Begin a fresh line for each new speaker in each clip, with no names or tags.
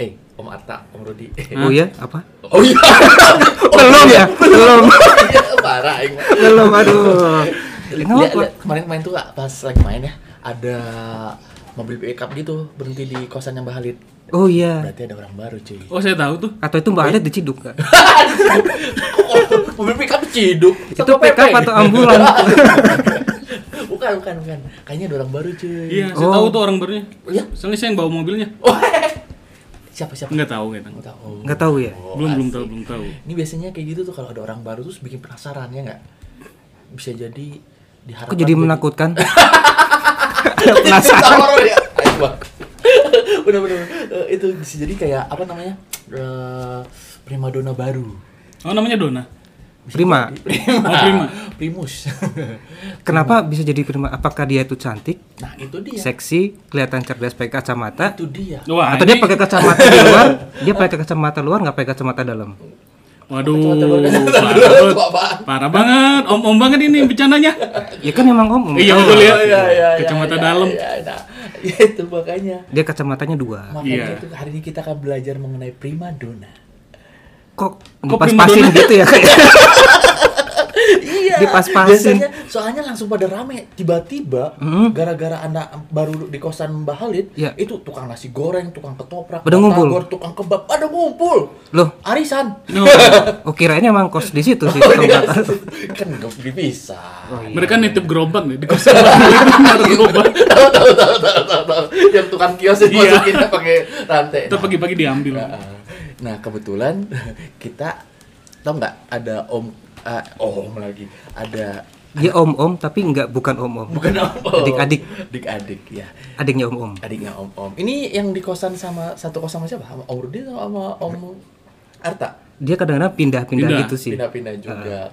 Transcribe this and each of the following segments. Eh, Rudi.
Oh iya, apa?
Oh iya.
belum ya? Belum.
Iya, Parah aing.
belum aduh.
Lihat,
Kenapa?
lihat, Kemarin main tuh pas lagi main ya, ada mobil pickup gitu berhenti di kosannya Mbak Halid.
Oh iya.
Berarti ada orang baru cuy.
Oh saya tahu tuh.
Atau itu Mbak Adet diciduk nggak?
mobil pickup ciduk.
Itu pickup atau ambulan?
bukan, bukan, bukan. Kayaknya ada orang baru cuy.
Iya, saya
Oh.
tahu tuh orang barunya.
Iya.
Soalnya saya yang bawa mobilnya.
Oh, siapa siapa?
Enggak tahu kayaknya.
Nggak tahu.
Nggak tahu ya?
Oh,
Belum belum
asik.
tahu, belum tahu.
Ini biasanya kayak gitu tuh kalau ada orang baru terus bikin penasaran ya nggak? Bisa jadi diharapkan
Kok jadi
jadi-
menakutkan? Ada
Cerita
penasaran.
horor ya. Ayo, Bang. Bener-bener Eh, itu bisa jadi kayak apa namanya Eh, primadona baru.
Oh namanya Dona.
Prima.
Prima.
Oh, prima.
Primus.
Kenapa bisa jadi prima? Apakah dia itu cantik,
nah itu dia.
seksi, kelihatan cerdas pakai kacamata?
Itu dia.
Wah,
Atau
Nah, ini-
dia pakai kacamata di luar? Dia pakai kacamata luar nggak pakai kacamata dalam?
Waduh,
Kacamata luar.
parah
Kacamata
banget.
luar, apaan?
Parah banget. Om-om banget ini bercandanya.
Ya kan emang om. om.
Iya,
Tahu.
betul ya.
Oh, iya, iya,
Kacamata
iya,
dalam.
Iya, nah, itu makanya.
Dia kacamatanya dua.
Makanya
Iya.
itu hari ini kita akan belajar mengenai primadona.
Kok
Kok
dipas-pasin
primadona?
gitu ya?
Iya.
Dipas-pasin.
Biasanya soalnya langsung pada rame tiba-tiba gara-gara anak baru di kosan Mbak Halid
Iya.
itu tukang nasi goreng, tukang ketoprak,
Pada ngumpul.
batagor, tukang kebab, pada ngumpul.
Loh,
Arisan.
No.
oh kirain emang kos di
Oh,
situ
iya.
sih. kacamata.
kan nggak bisa.
Mereka nitip gerobak nih di kosan. Naruh gerobak.
Tahu tahu tahu tahu tahu. tahu. Yang tukang kios itu
Iya.
masukin pakai rantai.
Ntar pagi-pagi diambil.
Nah, nah, kebetulan kita tau nggak ada om eh, om lagi ada
Dia om-om tapi nggak bukan om-om.
bukan om
Adik-adik.
adik-adik ya
Adiknya om-om.
adiknya om om ini yang di kosan sama satu kosan sama siapa sama om Rudi sama, sama om Arta
Dia kadang-kadang pindah-pindah
Pindah.
gitu sih.
pindah-pindah juga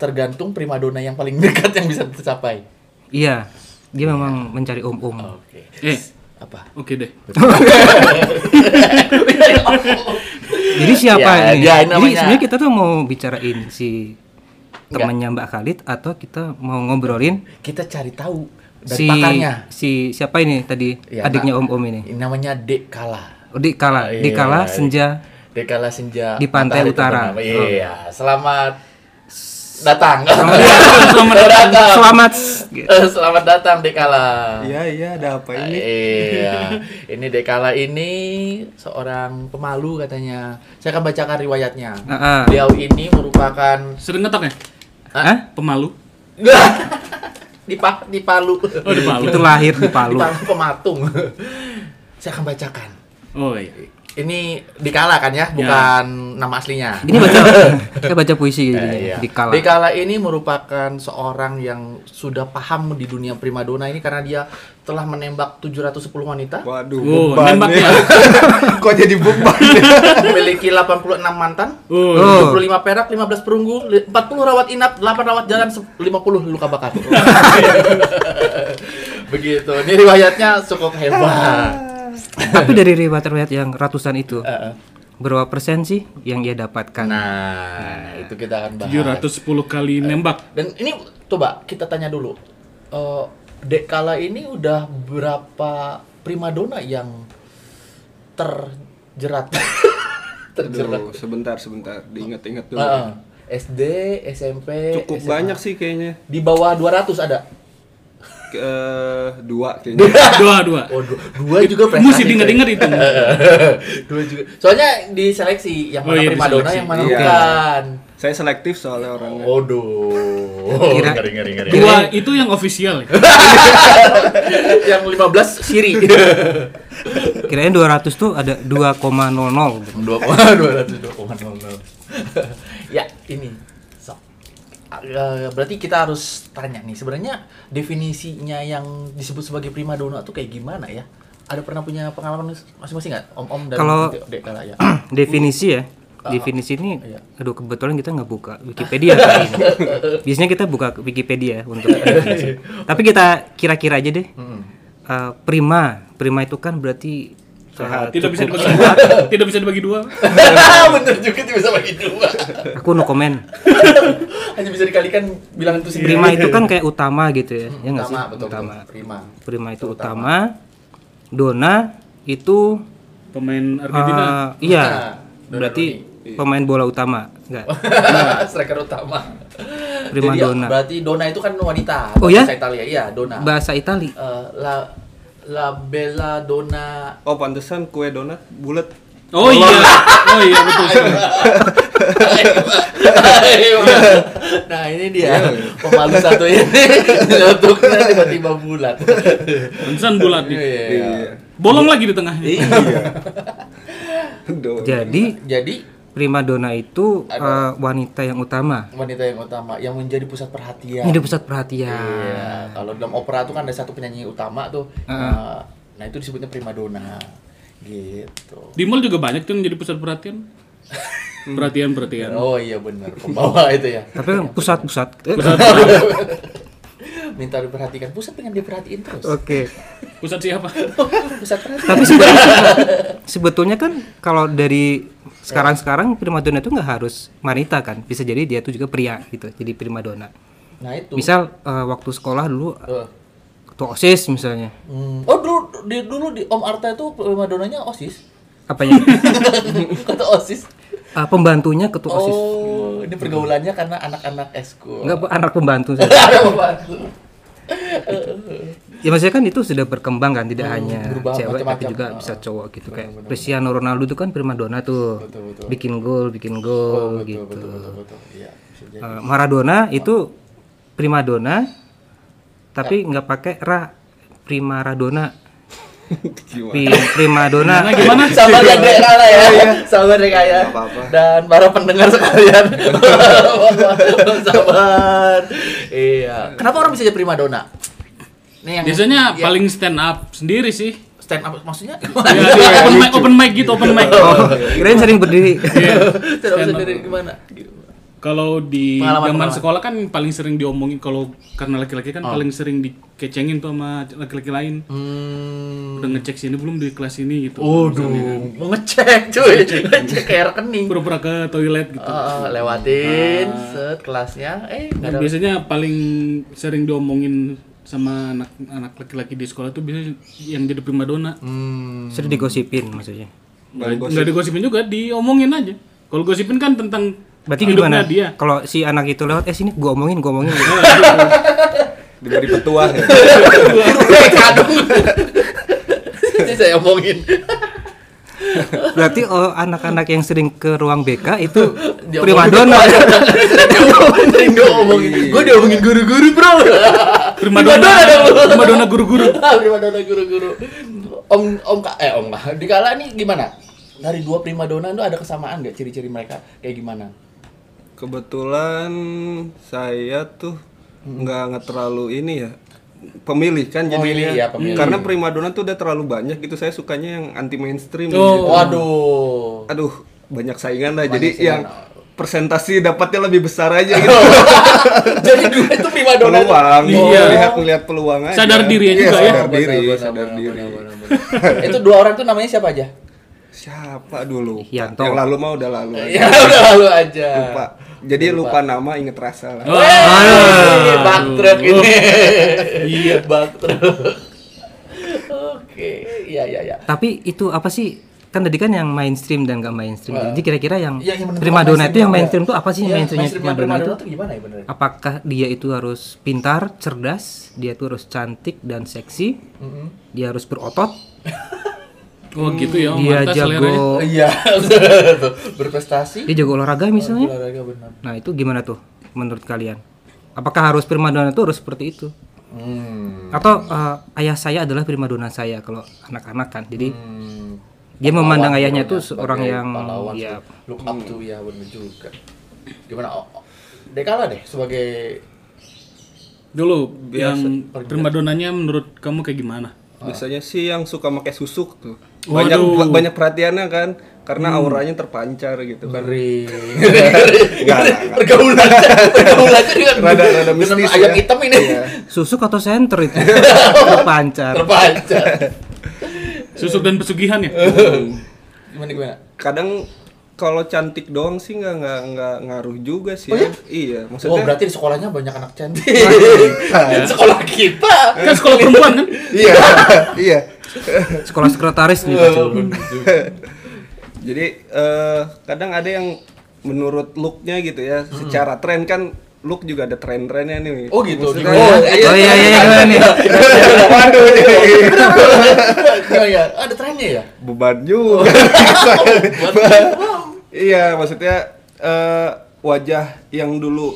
tergantung primadona yang paling dekat yang bisa tercapai
Iya. Dia memang mencari om-om.
oke
Eh,
apa
oke deh.
Jadi
Ya,
siapa ini?
dia
Jadi
namanya- Iya.
sebenarnya kita tuh mau bicarain si temannya Mbak Khalid atau kita mau ngobrolin
kita cari tahu dari
si
pakarnya
si siapa ini tadi
Ya,
adiknya
Kak.
om-om ini.
namanya Dek Kala
Oh, Dikala,
Iya.
Dikala Senja.
Dekala Senja
Di Pantai
Matahari
Utara.
Terbenam. Iya, selamat datang. Selamat
Selamat
datang.
Selamat.
Eh, Selamat datang Dekala.
Iya iya ada apa ini?
Iya. Ini Dekala ini seorang pemalu katanya. Saya akan bacakan riwayatnya.
Heeh.
Beliau ini merupakan ah,
Sering ngetok ya?
ah. Hah?
Pemalu.
di Pa- di Palu.
Oh, di Palu.
Itu lahir di
Di
Palu.
Palu pematung. Saya akan bacakan.
Oh iya.
Ini Dekala kan ya, bukan nama aslinya.
Ini baca kita baca
Eh,
puisi jadinya
iya.
Dikala.
Dikala ini merupakan seorang yang sudah paham di dunia primadona ini karena dia telah menembak 710 wanita,
Waduh,
Wow,
beban
nembaknya.
ya. Kok jadi beban?
memiliki 86 mantan,
Oh.
Oh,
25 perak, 15 perunggu, li- 40 rawat inap, 8 rawat jalan, se- 50 luka bakar. Begitu. Ini riwayatnya cukup hebat.
Tapi dari riwayat-riwayat yang ratusan itu,
Heeh.
berapa persen sih yang ia dapatkan?
Nah, itu kita akan bahas.
710 kali nembak.
Dan ini coba kita tanya dulu. Eh, Dek Kala ini udah berapa primadona yang terjerat? terjerat.
Aduh, sebentar sebentar, diingat-ingat dulu.
Heeh. SD, SMP,
Cukup
SMA.
banyak sih kayaknya.
Di bawah 200 ada.
Ke, eh, dua kayaknya.
Dua dua.
Oh, dua, dua juga prestasi.
Mesti
ya.
diinget-inget itu.
dua juga. Soalnya diseleksi yang
Oh,
mana
iya,
primadona
diseleksi.
yang mana
Iya.
bukan.
Saya selektif soalnya orangnya.
Waduh.
Kira-
Ngeri, ngeri, ngeri.
Dua itu yang official ya.
yang 15 siri.
Kirain 200 tuh ada 2,00.
dua koma dua ratus dua koma nol nol ya ini sok Eh, berarti kita harus tanya nih sebenarnya definisinya yang disebut sebagai prima dona tuh kayak gimana ya ada pernah punya pengalaman masing-masing nggak om om dan
Kalau-
Dek- Dek Kala ya
definisi ya definisi ini
Iya.
aduh kebetulan kita nggak buka Wikipedia kali ini. biasanya kita buka Wikipedia untuk definisi. tapi kita kira-kira aja deh Eh, prima prima itu kan berarti eh,
Tidak bisa
cukup-
dibagi Tidak bisa dibagi dua.
bener juga tuh bisa bagi dua
eh, aku no comment
hanya bisa dikalikan bilangan itu sendiri
prima itu kan kayak utama gitu ya ya nggak sih
utama betul betul prima
prima itu utama dona itu
pemain Argentina.
Eh, iya.
Nah,
berarti pemain bola utama. Enggak.
Oh, striker utama.
Nah. Prima
Jadi, ya,
donna.
berarti dona itu kan wanita.
Oh, ya?
Bahasa Italia, iya dona.
Bahasa Itali.
Eh, la la bella donna.
Oh pantesan kue donat bulat.
Oh iya, oh iya betul. sekali.
Iya, nah ini dia
Iya.
pemalu satu ini nyelotuknya tiba-tiba bulat.
Pantesan bulat nih.
Iya, iya.
Bolong lagi di tengahnya.
iya.
Donat.
Jadi
Jadi
primadona itu eh, wanita yang utama.
wanita yang utama yang menjadi pusat perhatian.
Ini di pusat perhatian.
Ya. Iya, kalau dalam opera tuh kan ada satu penyanyi utama tuh. Nah, nah, itu disebutnya primadona. Gitu.
Di mall juga banyak tuh yang jadi pusat perhatian. Perhatian perhatian.
Oh iya benar, pembawa itu ya.
Tapi kan pusat-pusat. Eh,
Minta diperhatikan, pusat pengen diperhatiin terus.
Oke.
Pusat siapa?
pusat perhatian.
Tapi sebetulnya, sebetulnya kan kalau dari sekarang-sekarang primadona itu nggak harus wanita kan. Bisa jadi dia tuh juga pria gitu. Jadi primadona.
Nah itu.
Misal eh, waktu sekolah dulu
Eh,
ketua OSIS misalnya.
hmm. Oh dulu di, dulu di Om Arta itu primadonanya osis.
Apanya?
Kata osis.
Eh, pembantunya ketua OSIS.
Oh, ini pergaulannya karena anak-anak eskul.
Enggak anak pembantu saya.
Ada apa?
Ya maksudnya kan itu sudah berkembang kan, tidak hanya
Hmm, berubah
cewek tapi
macam-macam.
juga bisa cowok gitu kayak Cristiano Ronaldo itu kan primadona tuh. Bikin gol, bikin gol gitu.
Oh, Betul betul betul. Iya. bisa jadi.
Eh, Maradona itu primadona tapi
Ya.
nggak pakai ra primaradona. Pri, primadona.
Gimana gitu? sabar yang daerah lah ya, sabar ya kaya dan para pendengar sekalian sabar. Iya. Kenapa orang bisa jadi primadona? Nih yang Iya.
Biasanya paling stand up sendiri sih.
stand up maksudnya?
Ya, open mic, open mic gitu, open mic.
Oh, kirain sering berdiri.
stand up sendiri gimana?
Kalau di
Pengalaman,
zaman
pengalaman.
sekolah kan paling sering diomongin kalau karena laki-laki kan paling sering dikecengin tuh sama laki-laki lain.
Hmm. Oh,
Udah ngecek sini belum di kelas ini gitu.
Waduh, mau ngecek cuy, ngecek kayak rekening.
Pura-pura ke toilet gitu.
Ah, lewatin set kelasnya eh nggak
Dan
ada
biasanya paling sering diomongin sama anak-anak laki-laki di sekolah tuh biasanya yang jadi primadona.
Hmm.
Hmm.
Sering digosipin maksudnya.
Nggak digosipin juga, diomongin aja. Kalau gosipin kan tentang
Berarti
hidupnya
gimana?
dia.
Kalau si anak itu lewat, eh sini gua omongin, gua omongin.
Diberi petuah ya.
mereka dong Eh, ini saya omongin
Berarti oh, anak-anak yang sering ke ruang BK itu
Dia
primadona.
sering dia omongin gue diomongin guru-guru bro
Primadona,
Primadona Ah, dong.
primadona guru-guru.
Ah, primadona guru-guru om om Ka- eh om Ka- dikala nih gimana dari dua primadona itu ada kesamaan gak ciri-ciri mereka kayak gimana
Kebetulan saya tuh nggak nggak terlalu ini ya pemilih kan jadinya
Pemilih, ya, pemilih.
karena primadona tuh udah terlalu banyak gitu saya sukanya yang anti mainstream
Oh.
gitu.
waduh
aduh banyak saingan lah jadi yang persentasi dapatnya lebih besar aja gitu
jadi dua itu primadona itu-
peluang
Iya.
melihat melihat peluang aja
Sadar diri aja
Iya,
juga ya.
sadar diri
Benar, benar,
sadar
benar,
diri
benar, benar. itu dua orang tuh namanya siapa aja
siapa dulu
Yanto.
yang lalu mah udah lalu aja.
ya udah lalu aja
lupa jadi lupa nama inget rasa lah
Oh.
Wih, backtrack ini. Iya, backtrack. Oke, iya iya iya.
Tapi itu apa sih? Kan tadi kan yang mainstream dan nggak mainstream. Jadi kira-kira yang,
Ya, yang menentukan
primadona itu yang
mainstream
mainstream itu apa sih
Iya,
mainstreamnya
mainstream
primadona
primadona
itu?
tuh gimana ya bener?
Apakah dia itu harus pintar, cerdas, dia itu harus cantik dan seksi, dia harus berotot,
Oh
Hmm,
gitu ya, Om
dia
Arta seleranya.
jago,
Iya, tuh, berprestasi.
dia jago olahraga misalnya.
Olahraga benar.
Nah itu gimana tuh menurut kalian? Apakah harus primadona itu harus seperti itu?
Hmm.
Atau eh, ayah saya adalah primadona saya kalau anak-anak kan. Jadi
Hmm.
dia memandang ayahnya itu seorang yang
ya, pahlawan
ya,
look up to ya bener juga. Gimana? Oh, oh, Dekala deh sebagai
Dulu yang primadonanya menurut kamu kayak gimana?
biasanya sih yang suka pakai susuk tuh banyak ba- banyak perhatiannya kan karena
Hmm.
auranya terpancar gitu kan
Ngeri.
Enggak, enggak,
pergaulannya, pergaulannya dengan
Rada- rada
dengan
mistis
ayam
ya.
hitam ini
susuk atau senter itu pancar.
terpancar.
Susuk dan pesugihan ya?
Gimana gimana?
kadang kalau cantik doang sih nggak nggak nggak ngaruh juga sih.
Oh
ya.
iya?
Iya,
Oh
maksudnya
berarti di sekolahnya banyak anak cantik. sekolah kita.
Kan sekolah perempuan kan?
iya iya.
Sekolah sekretaris gitu, juga. cuy.
Jadi eh, kadang ada yang menurut looknya gitu ya, secara tren kan look juga ada tren-trennya nih.
Oh gitu.
Maksudnya- ya,
Oh,
Oh iya iya iya, gimana nih?
Waduh, ini
Iya, iya. Ada trennya ya?
beban juga. iya, maksudnya eh, wajah yang dulu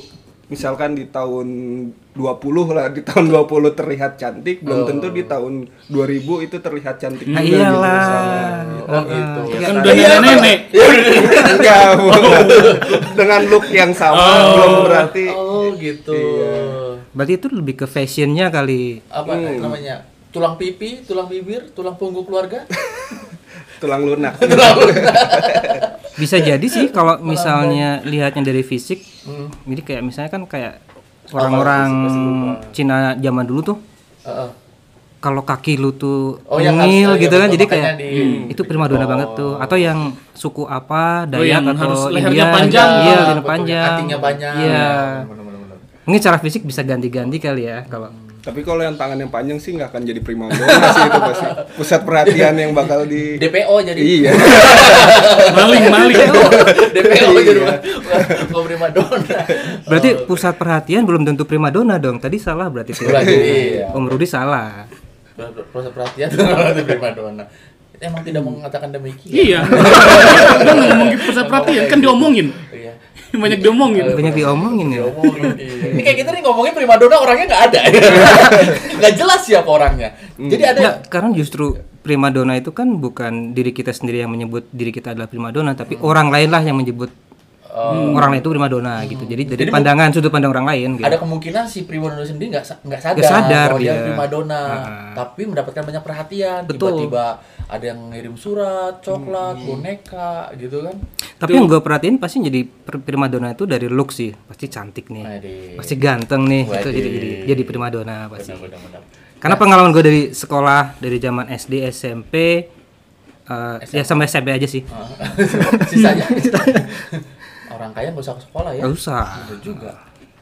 misalkan di tahun 20 lah, di tahun 20 terlihat cantik, belum tentu di tahun 2000 itu terlihat cantik
Nah,
juga gitu
iyalah.
misalnya.
Oh gitu.
iya.
Kan udah nenek-nenek.
Iya.
Enggak, bukan. Dengan look yang sama belum berarti
Oh gitu.
Iya. Berarti itu lebih ke fashionnya kali.
Apa
Hmm.
namanya? Tulang pipi, tulang bibir, tulang punggung keluarga.
tulang lunak.
Bisa jadi sih kalau misalnya lihatnya dari fisik. Jadi kayak misalnya kan kayak orang-orang Cina zaman dulu tuh
Heeh.
kalau kaki lu tuh
Oh, yang
mungil
kaki-
gitu
iya,
kan
betul,
jadi
makanya
kayak
di-
"Hmm, itu primadona banget tuh atau yang suku apa
Oh,
Dayak
yang
atau
harus
India
lehernya
gitu.
Ya,
panjang.
iya
Ah, betul,
leher
yang
panjang
Antingnya banyak.
iya
Bener, bener, bener.
mungkin secara fisik bisa ganti-ganti kali ya kalau
Tapi kalau yang tangan yang panjang sih nggak akan jadi primadona sih itu pasti. Pusat perhatian yang bakal di
DPO jadi.
Iya.
Maling-maling.
DPO jadi
Iya.
oh, primadona. Eh,
berarti pusat perhatian belum tentu primadona dong tadi salah berarti tuh.
Berarti, iya.
Om Rudi salah
Proses perhatian terhadap primadona. Emang tidak mau mengatakan demikian.
Iya. Kan ngomongin pusat perhatian kan diomongin.
Iya.
Banyak diomongin.
banyak diomongin ya
Diomongin, iya. Ini kayak kita nih ngomongin primadona orangnya nggak ada. Nggak jelas siapa orangnya.
Hmm.
Jadi ada
Nggak, karena justru primadona itu kan bukan diri kita sendiri yang menyebut diri kita adalah primadona tapi
Hmm.
orang lain lah yang menyebut
Oh.
orang lain itu primadona gitu jadi
Hmm.
dari pandangan sudut pandang orang lain gitu
ada kemungkinan si primadona sendiri nggak sa- nggak sadar,
Nggak sadar iya.
bahwa dia
dia.
primadona, tapi mendapatkan banyak perhatian.
Betul. Hmm.
Tiba-tiba ada yang ngirim surat, coklat, boneka, gitu kan?
tapi yang gue perhatiin pasti jadi per- primadona itu dari look sih pasti cantik nih
Waduh.
pasti ganteng nih itu
Waduh.
jadi jadi jadi primadona pasti
Benar-benar.
karena
Nah.
pengalaman gue dari sekolah dari zaman SD SMP eh, ya sampai SMP
Oh.
aja sih
Nah, Sisanya orang kaya nggak usah ke sekolah ya?
nggak usah
Bener juga.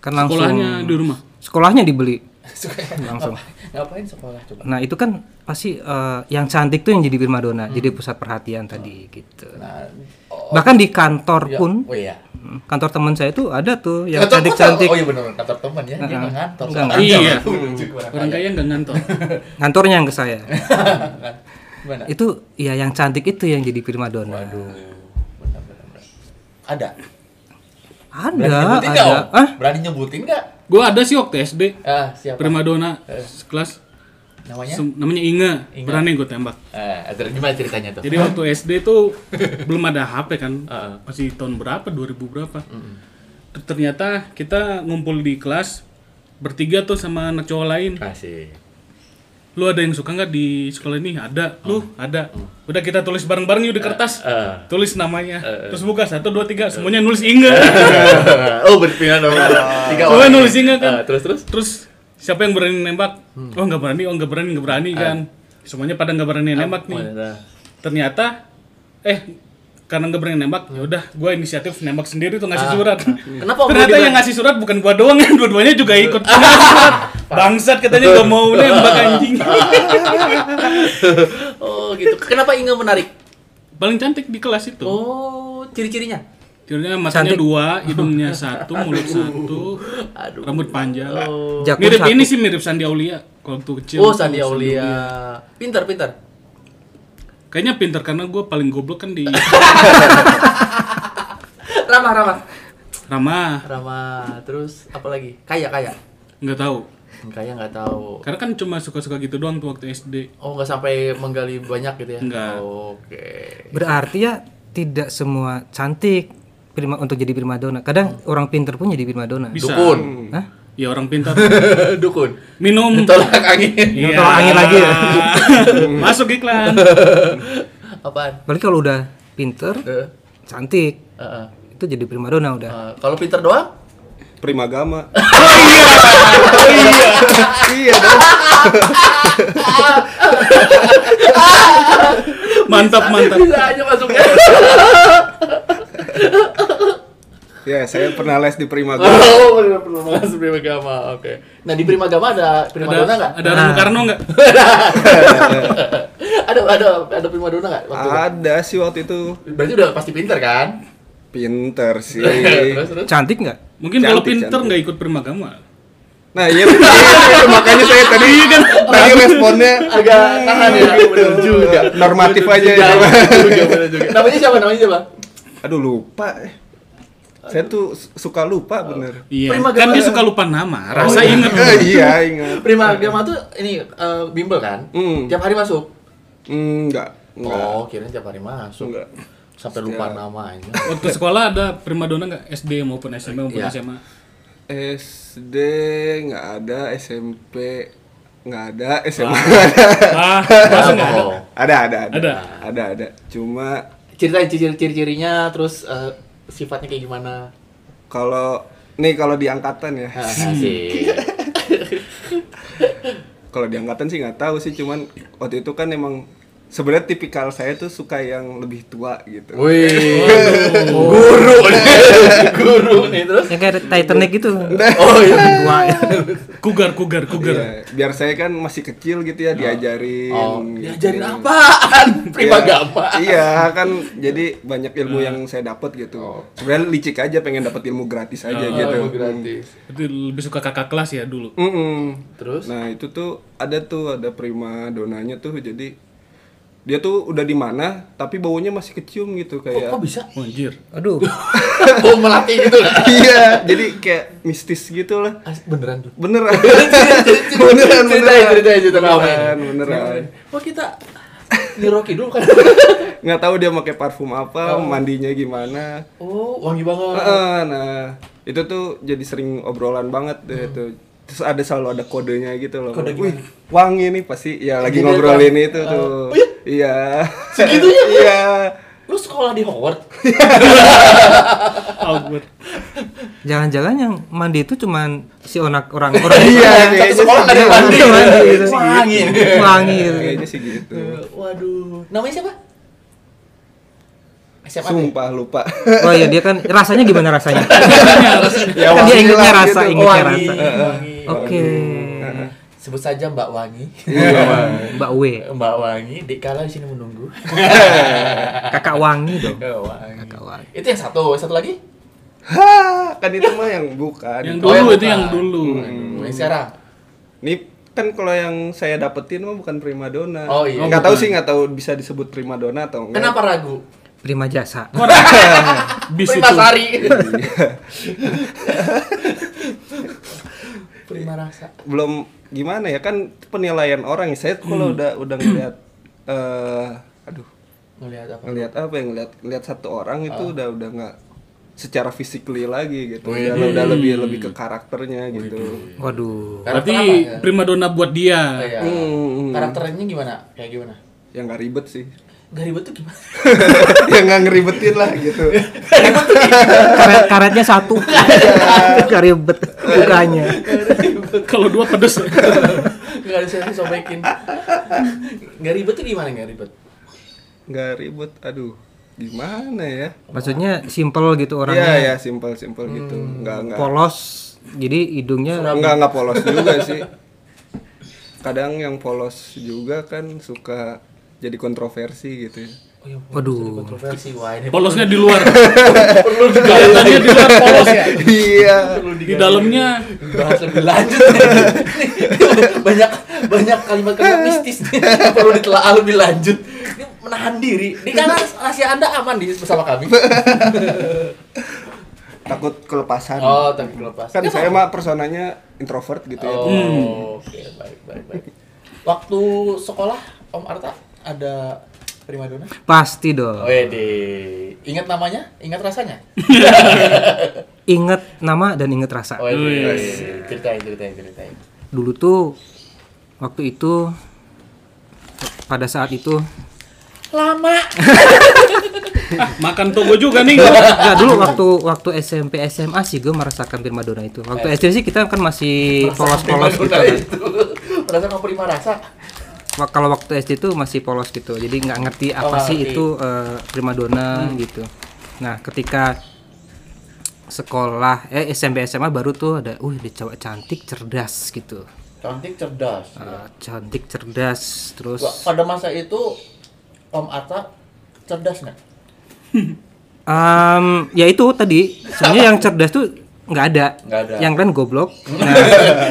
kan langsung
Sekolahnya di rumah.
sekolahnya dibeli
Suka
Langsung.
ngapain, ngapain sekolah coba?
Nah itu kan pasti eh, yang cantik tuh yang jadi primadona, jadi pusat perhatian tadi gitu.
Nah, Hmm. oh,
Bahkan di kantor
ya,
pun,
oh iya.
hmm, kantor teman saya tuh ada tuh yang
Kantor kota-
cantik-cantik.
Oh iya benar kantor teman ya, dia nggak ngantor.
Nggak
soalnya.
ngantor. Ya, Iya.
Lucu banget.
Orang kaya nggak ngantor.
iya.
Ngantornya yang ke saya.
Gimana?
itu ya yang cantik itu yang jadi primadona.
Aduh, benar-benar. Ada. Berani
Ada,
nyebutin
ada.
nggak? Om?
Ah,
Berani nyebutin nggak?
Gue ada sih waktu SD.
Ah, siapa?
Primadona sekelas.
Namanya?
sem- Namanya Inge.
Inge.
Berani gue tembak.
Eh, ada- gimana ceritanya tuh?
Jadi waktu SD tuh belum ada HP kan,
Heeh.
masih tahun berapa, 2000 berapa. Ter- Ternyata kita ngumpul di kelas bertiga tuh sama anak cowok lain.
Kasih.
Lu ada yang suka nggak di sekolah ini? Ada. Lu ada. Udah kita tulis bareng-bareng yuk di kertas.
Oh. Mm. eh.
Tulis namanya. Terus buka satu dua tiga, semuanya nulis Inge.
oh, berpindah nomor tiga
Semua nulis Inge
Eh,
kan.
terus terus.
Terus siapa yang berani nembak?
Hmm.
Oh nggak berani, oh nggak berani, nggak berani
Eh.
kan. Semuanya pada nggak berani nembak nih.
ya,
ternyata eh karena nggak berani nembak ya udah gue inisiatif nembak sendiri tuh ngasih surat
Ah. Kenapa gitu, gua
ternyata
dibilang-
yang ngasih surat bukan gua doang yang dua-duanya juga ikut
Ah.
ngasih surat bangsat katanya gak mau nembak anjing
Ah. Oh, gitu. Kenapa Inga menarik?
paling cantik di kelas itu
Oh, ciri-cirinya.
Tidurnya matanya
Cantik.
dua, hidungnya satu, mulut satu,
Aduh.
rambut panjang.
Jakun
mirip
satu.
ini sih mirip Sandi Aulia kalau waktu kecil.
Oh,
tuh,
Sandi Aulia. Pintar, pintar.
Kayaknya pinter karena gue paling goblok kan di
Ramah, ramah.
Rama,
Ramah. Terus apa lagi? Kaya, kaya.
nggak tahu.
Kaya nggak tahu.
Karena kan cuma suka-suka gitu doang tuh waktu SD.
Oh, nggak sampai menggali banyak gitu ya?
Nggak.
Oke.
berarti ya tidak semua cantik prima, untuk jadi primadona. Kadang
Hmm.
orang pinter pun jadi primadona.
Bisa.
Dukun.
Hah?
Ya orang pintar.
Dukun.
Minum.
Tolak angin.
Iya.
Tolak angin lagi ya.
Masuk iklan.
Apaan?
Berarti kalau udah pinter,
Eh,
cantik
eh, eh.
itu jadi primadona udah.
Eh, kalau pinter doang?
Primagama. Oh iya. iya. dong.
Mantap, mantap.
Bisa aja masuknya.
Ya, saya pernah les di Primagama.
Oh, bener, bener, bener, Prima Gama. Oke. Nah, di Prima Gama ada prima donna
Ada,
enggak?
ada
Nah.
Rano Karno nggak?
Ada ada ada prima donna enggak waktu itu?
Ada sih waktu itu.
Berarti udah pasti pinter kan?
Pinter sih.
terus
Ah.
terus.
Cantik nggak?
Mungkin kalau
Cantik,
pinter
cantik.
nggak ikut primagama.
Nah, iya betul. makanya saya tadi kan tadi responnya
Agak tahan ya, Iya bener juga.
normatif aja ya.
Jangan, bener juga, bener juga. Namanya siapa? Namanya siapa?
Aduh, lupa. Saya tuh su- suka lupa bener.
Iya.
Primagama.
Kan dia suka lupa nama, rasa inget.
Eh, iya, ingat.
Prima Gama tuh ini eh, bimbel kan?
Hmm.
Tiap hari masuk.
Mm, Enggak, enggak.
Oh, kirain tiap hari masuk.
Enggak.
Sampai lupa
Setiap-
namanya.
Waktu sekolah ada primadona nggak? SD maupun SMP maupun
Iya.
SMA.
SD nggak ada, SMP nggak ada, SMA nggak
Ah, masuk nggak?
Oh.
ada. Ada, ada,
Ada.
ada. Ada, ada. Cuma
Ceritain ciri-cirinya terus eh, sifatnya kayak gimana?
kalau nih kalau di angkatan ya.
Ah, Asik.
Kalau di angkatan sih nggak tahu sih, cuman waktu itu kan emang sebenarnya tipikal saya tuh suka yang lebih tua gitu.
Wih, guru nih, guru nih terus.
Yang kayak Titanic gitu.
Oh iya,
Kugar, kugar, kugar.
Iya, biar saya kan masih kecil gitu ya diajarin.
oh,
gitu.
diajarin apaan? Prima gama.
Iya kan jadi banyak ilmu yang saya dapat gitu. Sebenarnya licik aja pengen dapat ilmu gratis aja
Oh,
gitu.
emang gratis.
Itu lebih suka kakak kelas ya dulu.
Mm-mm.
Terus?
Nah itu tuh ada tuh ada prima donanya tuh jadi dia tuh udah di mana tapi baunya masih kecium gitu kayak.
Kok bisa?
Oh, Anjir.
Aduh,
Oh melatih gitu lah.
iya jadi kayak mistis gitu lah.
As- Beneran tuh.
Beneran.
Beneran,
beneran
ceritain,
beneran.
ceritain, ceritain apa ini?
Beneran beneran.
Oh kita di Rocky dulu kan?
Nggak tahu dia pakai parfum apa, mandinya gimana.
Oh wangi banget.
Heeh, nah itu tuh jadi sering obrolan banget deh itu terus ada selalu ada kodenya gitu loh
Hmm. Kode
Wih, wangi nih pasti ya lagi
Gini,
ngobrolin
Bang.
itu
Oh,
tuh
iya?
iya
Segitunya, Bu?
iya
Lu sekolah di Howard?
Awkward.
jangan-jangan yang mandi itu cuman si onak orang orang
iya
Satu sekolah ada yang mandi.
gitu.
Wangi.
iya,
wangi gitu.
kayaknya sih gitu
Hmm. Waduh. Namanya siapa? Siapa? tuh?
sumpah lupa
Oh iya dia kan rasanya gimana rasanya?
Ya,
kan dia
wangi
ingetnya
lah
rasa,
gitu.
ingetnya
Wangi,
rasa.
wangi.
Oke.
Sebut saja Mbak Wangi.
Mbak W,
Mbak Wangi, Dek Kala di sini menunggu.
kakak wangi dong.
Mbak Wangi.
Kakak wangi.
Itu yang satu, satu lagi?
Hah, kan itu mah yang bukan
Yang
Oh,
dulu
yang
itu
bukan.
yang dulu.
Yang sekarang.
Iya.
Nih kan kalau yang saya dapetin mah bukan primadona.
Oh, iya.
Nggak
Oh,
tahu
bukan.
sih nggak tahu bisa disebut primadona atau enggak.
Kenapa ragu?
Prima jasa.
Bis
Prima
itu.
Sari. Prima rasa.
belum gimana ya kan penilaian orang ya. saya
Hmm.
kalau udah udah ngeliat eh aduh
Ngelihat apa?
ngeliat apa ya ngeliat ngeliat satu orang itu udah udah nggak secara physically lagi gitu
Wih.
udah, udah lebih lebih ke karakternya gitu
Waduh.
Berarti
Karakter apa?
primadona buat
Oh,
dia.
iya.
Hmm.
Karakternya gimana? Kayak gimana?
yang Ya nggak ribet sih
Gak ribet tuh gimana?
yang nggak ngeribetin lah gitu
Karet, karetnya satu. Gak ribet bukanya.
iya.
Kalau dua pedes.
Gak ada yang disobekin. Gak ribet tuh gimana gak ribet?
nggak ribet aduh gimana ya
Maksudnya simple gitu
Iya
orangnya.
ya simpel simpel gitu nggak nggak
Polos. Jadi hidungnya
nggak nggak polos juga sih kadang yang polos juga kan suka jadi kontroversi gitu ya
Oh, ya, ampun,
Waduh.
jadi kontroversi wah ini
Polosnya di luar.
perlu digali
Kelihatannya di luar polos ya.
iya
perlu
Di dalamnya
bahas lebih lanjut Ini banyak banyak kalimat-kalimat mistis nih yang perlu ditelaah lebih lanjut ini menahan diri ini karena rahasia anda aman di bersama kami
takut kelepasan
oh tapi lepas
kan saya mah personanya introvert gitu ya
oh oke baik baik baik waktu sekolah om Arta ada primadona
pasti dong.
Wede, ingat namanya, ingat rasanya.
Ingat nama dan ingat rasa.
Wede, ceritain, ceritain, ceritain.
dulu tuh waktu itu pada saat itu
Lama.
ah, makan togo juga nih.
Enggak dulu waktu waktu SMP SMA sih gue merasakan primadona itu. Waktu SD sih kita kan masih polos-polos gitu.
Primadona
kan.
itu. Merasa kamu prima rasa.
Wak- Kalau waktu SD itu masih polos gitu. Jadi nggak ngerti
Oh, Hmm.
apa
nggak
sih
ngerti.
itu eh, primadona gitu. Nah, ketika sekolah eh SMP SMA baru tuh ada uh ada cewek cantik cerdas gitu.
Cantik cerdas. ya.
Ah, cantik cerdas terus
Wah, Pada masa itu Om Atta cerdas nggak?
Em, ya itu tadi sebenarnya yang cerdas tuh nggak ada.
Nggak ada.
Yang keren goblok. Nah,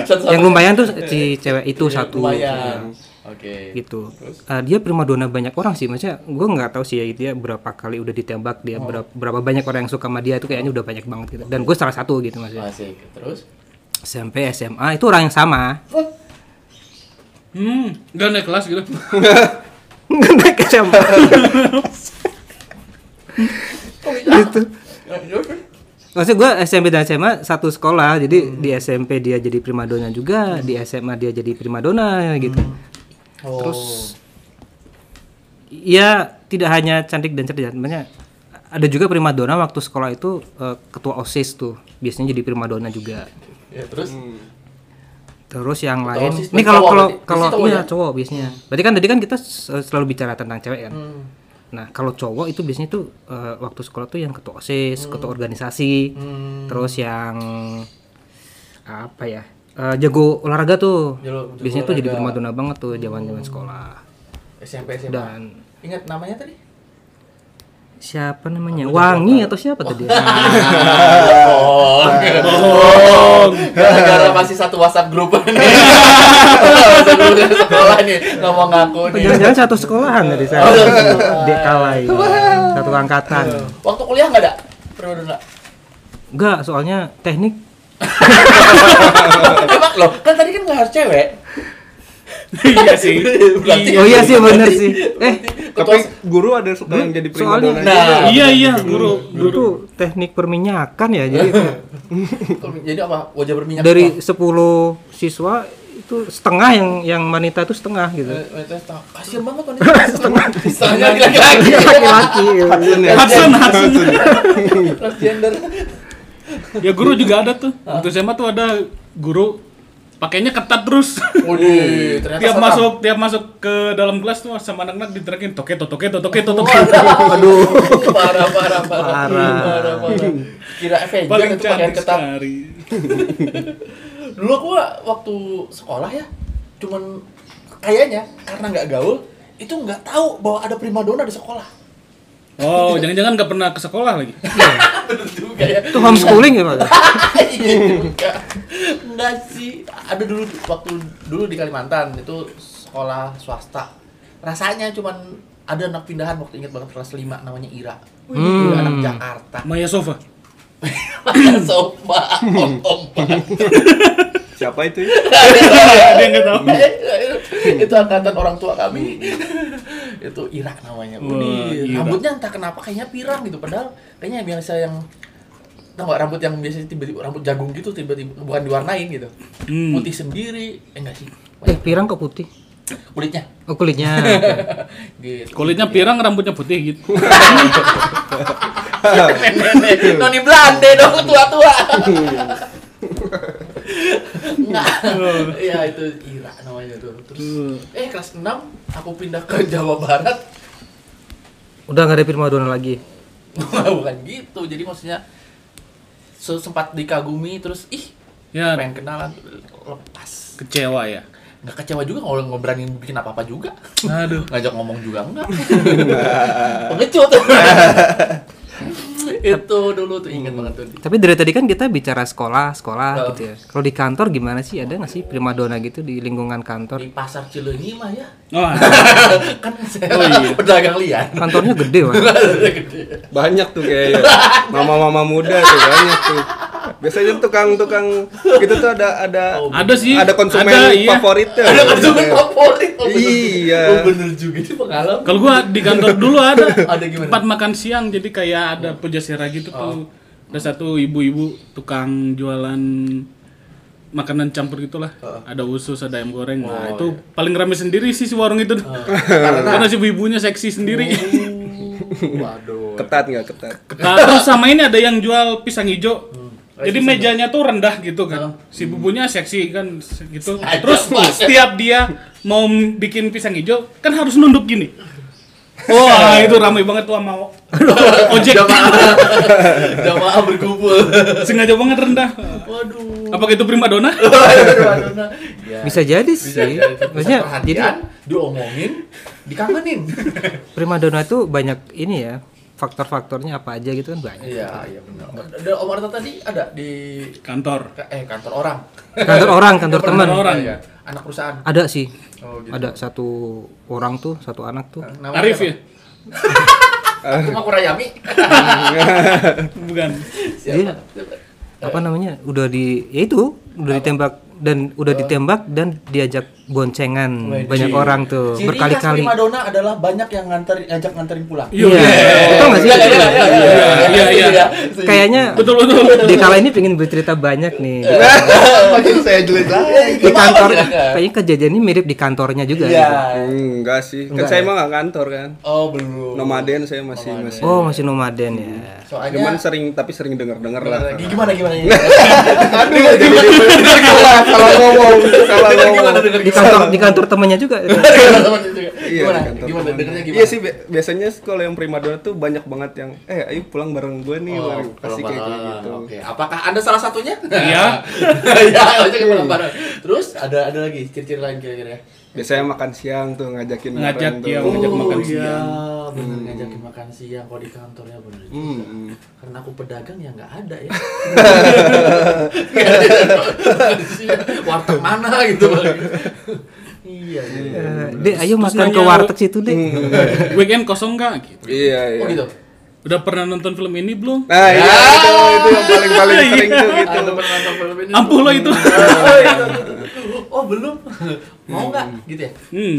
Satu-satu.
yang lumayan tuh si cewek itu satu
Eh, Lumayan. Oke.
gitu. Eh, dia primadona banyak orang sih, maksudnya gue nggak tahu sih ya dia berapa kali udah ditembak dia berapa, berapa banyak orang yang suka sama dia itu kayaknya udah banyak banget gitu. Dan gue salah satu gitu maksudnya.
Masih terus.
SMP SMA itu orang yang sama.
Hmm, gak naik kelas gitu.
Naik SMA. gitu. Maksud gue SMP dan SMA satu sekolah, jadi di SMP dia jadi primadona juga, di SMA dia jadi primadona gitu.
Oh.
Terus ya tidak hanya cantik dan cerdas, banyak ada juga primadona waktu sekolah itu eh, ketua OSIS tuh, biasanya jadi primadona juga.
Ya, terus
Terus yang
Ketua
lain,
OSIS
ini
tuh
kalau
cowok
kalau
berarti? Biasanya
kalau
cowok
iya,
ya?
cowok biasanya. Berarti kan tadi kan kita s- selalu bicara tentang cewek kan.
Hmm.
Nah, kalau cowok itu biasanya tuh eh, waktu sekolah tuh yang ketua OSIS,
Hmm.
ketua organisasi, terus yang apa ya? eh, jago olahraga tuh.
Jago- jago
biasanya tuh jadi
olahraga. Hmm.
primadona banget tuh zaman-zaman sekolah.
SMP SMA.
Dan
Ingat namanya tadi?
siapa namanya? Wangi atau siapa tadi? Nah,
Bohong. Bohong. Oh. Gara-gara masih satu WhatsApp grup ini. WhatsApp grup dari sekolah nih ngomong ngaku nih.
Nah, Jangan-jangan satu sekolahan dari saya.
Oh, Iya. satu
Dek Kalai. Satu angkatan.
Waktu kuliah nggak ada primadona.
Enggak, soalnya teknik
Emang loh, kan tadi kan nggak harus cewek.
Iya sih.
Berarti-
Oh iya sih bener sih. Eh,
Tapi guru ada suka yang jadi
soalnya-
primadona.
Nah,
Iya iya, guru
dulu
guru.
tuh teknik perminyakan ya. Jadi
jadi apa? Wajah berminyak.
dari 10 siswa itu setengah yang yang wanita itu setengah gitu.
Eh, wanita setengah. Kasian banget wanita setengah. Setengahnya laki-laki.
Laki-laki. gitu.
Hudson, Hudson.
Transgender.
Ya guru juga ada tuh. Untuk SMA tuh ada guru pakainya ketat terus.
Waduh, ternyata
tiap
setan.
masuk tiap masuk ke dalam kelas tuh sama anak-anak diterakin toke toke toke toke
Aduh, parah parah parah.
Parah.
Parah parah. Kira Avenger
paling
itu pakaian
cantik
ketat.
sekali
Dulu aku waktu sekolah ya, cuman kayaknya karena nggak gaul, itu nggak tahu bahwa ada primadona di sekolah.
oh jangan-jangan nggak pernah ke sekolah lagi
Bener juga ya.
Itu homeschooling ya, Pak?
Iya juga. Enggak sih. Ada dulu waktu dulu di Kalimantan itu sekolah swasta. Rasanya cuman ada anak pindahan waktu inget banget kelas 5 namanya Ira. Dia anak Jakarta.
Maya Sofa
Sofa, om om.
Siapa itu? ya?
ada yang nggak tahu
Iya, itu angkatan orang tua kami. itu Ira namanya.
Wah,
Unik.
Ira.
Rambutnya entah kenapa kayaknya pirang gitu padahal kayaknya yang biasa yang Tau nggak rambut yang biasanya tiba-tiba rambut jagung gitu tiba-tiba bukan diwarnain gitu.
Hmm.
Putih sendiri, eh enggak sih.
Eh, pirang kok putih?
kulitnya
Oh, kulitnya.
gitu
kulitnya pirang rambutnya putih gitu
nenek noni Belanda dong tua tua nggak ya itu Ira namanya tuh terus eh kelas 6 aku pindah ke Jawa Barat
Udah nggak ada primadona lagi.
bukan gitu jadi maksudnya se- sempat dikagumi terus ih
ya
pengen kenalan lepas
kecewa ya
nggak kecewa juga kalau nggak berani bikin apa apa juga
aduh
ngajak ngomong juga enggak pengecut itu dulu tuh inget banget tuh
Tapi dari tadi kan kita bicara sekolah, sekolah
Oh.
gitu ya. Kalau di kantor gimana sih? Ada nggak sih primadona gitu di lingkungan kantor?
di pasar Cileunyi mah ya
oh,
kan saya pedagang liar
Kantornya gede, Pak.
Gede.
Banyak tuh kayaknya. Mama-mama muda tuh banyak tuh. Biasanya tukang-tukang gitu tuh ada ada
ada sih
ada konsumen
ada, iya.
favoritnya.
ada konsumen favorit Oh, bener.
Iya.
oh, bener juga itu pengalaman
kalau gua di kantor dulu ada
Ada gimana? Oh.
tempat makan siang jadi kayak ada pujasera gitu tuh ada satu ibu-ibu tukang jualan makanan campur gitulah
Oh.
ada usus ada ayam goreng nah itu
iya.
paling rame sendiri sih si warung
Oh.
itu karena si ibu-ibunya seksi sendiri
iya. waduh
Ketat nggak ketat?
Nah, terus sama ini ada yang jual pisang hijau. Jadi mejanya tuh rendah gitu kan. Si bubunya seksi kan gitu.
Sengaja
Terus
banget.
setiap dia mau m- bikin pisang hijau kan harus nunduk gini. Wah, itu ramai banget tuh sama o- ojek.
Iya, Jamaah. Jamaah berkumpul.
Sengaja banget rendah. gitu,
Waduh.
Apakah itu primadona?
Primadona. Ya.
Bisa jadi
Bisa
sih.
jadi pusat
Iya. Maksudnya jadi
perhatian, diomongin, dikangenin.
primadona itu banyak ini ya faktor-faktornya apa aja gitu kan banyak.
Iya, iya benar. Dan Om Arta tadi ada di
Kantor.
eh kantor orang.
Kantor orang, kantor teman.
Kantor orang.
ya. Anak perusahaan.
Ada sih.
Oh, gitu.
Ada satu orang tuh, satu anak tuh.
Namanya
Arif iya.
siapa?
ya?
Cuma Kurayami.
Bukan.
Dia Iya. apa namanya? Udah di ya itu, udah ditembak dan udah ditembak dan diajak boncengan
Wih,
banyak
ciri-
orang tuh
Ciri khas
berkali-kali.
primadona adalah banyak yang nganter ngajak nganterin pulang.
Iya.
Iya. Tau nggak sih?
Iya, iya, iya,
Iya, iya.
Kayaknya
Betul betul.
di kala ini pengen bercerita banyak nih.
Makin saya jelas
Di kantor kayaknya kejadiannya mirip di kantornya juga.
Iya.
Enggak sih, kan
Enggak
saya
ya?
emang nggak kantor kan.
Oh, belum.
Nomaden saya masih masih.
Oh, masih nomaden ya.
Soalnya
Cuman sering tapi sering dengar-dengar lah.
gimana gimana ini?
Aduh, jadi bener salah salah ngomong, salah ngomong.
Gimana dengar
Di kantor di kantor temannya juga.
Iya,
Gimana?
di kantor
Gimana
teman.
dengarnya gimana?
Iya sih bi- biasanya kalau yang primadona tuh banyak banget yang eh ayo pulang bareng gue nih,
Oh,
bareng. pasti kayak
pulang bareng.
gitu.
Oke, apakah Anda salah satunya?
Iya.
Iya, ojek pulang bareng. Terus ada ada lagi ciri-ciri lain kira-kira. ya?
Biasanya makan siang tuh ngajakin
Ngajak
bareng
dia
tuh. Oh,
ngajak makan
iya,
siang.
bener ngajakin makan siang kalau di kantornya bener. juga.
Hmm, hmm.
Karena aku pedagang ya nggak ada ya. Nggak ada makan siang. Warteg mana gitu. Iya, iya.
Eh, Dek, ayo
Terus
makan ke
nanya-
warteg situ, Dek.
Weekend kosong nggak? Gitu.
Iya, iya.
Oh gitu. Ya!
Udah pernah nonton film ini belum?
Nah, iya, itu, itu yang paling paling
Iya.
sering tuh gitu.
Ah, teman-teman film ini.
Ampuh lo itu.
Oh belum. Mau nggak? Gitu ya?
Hmm.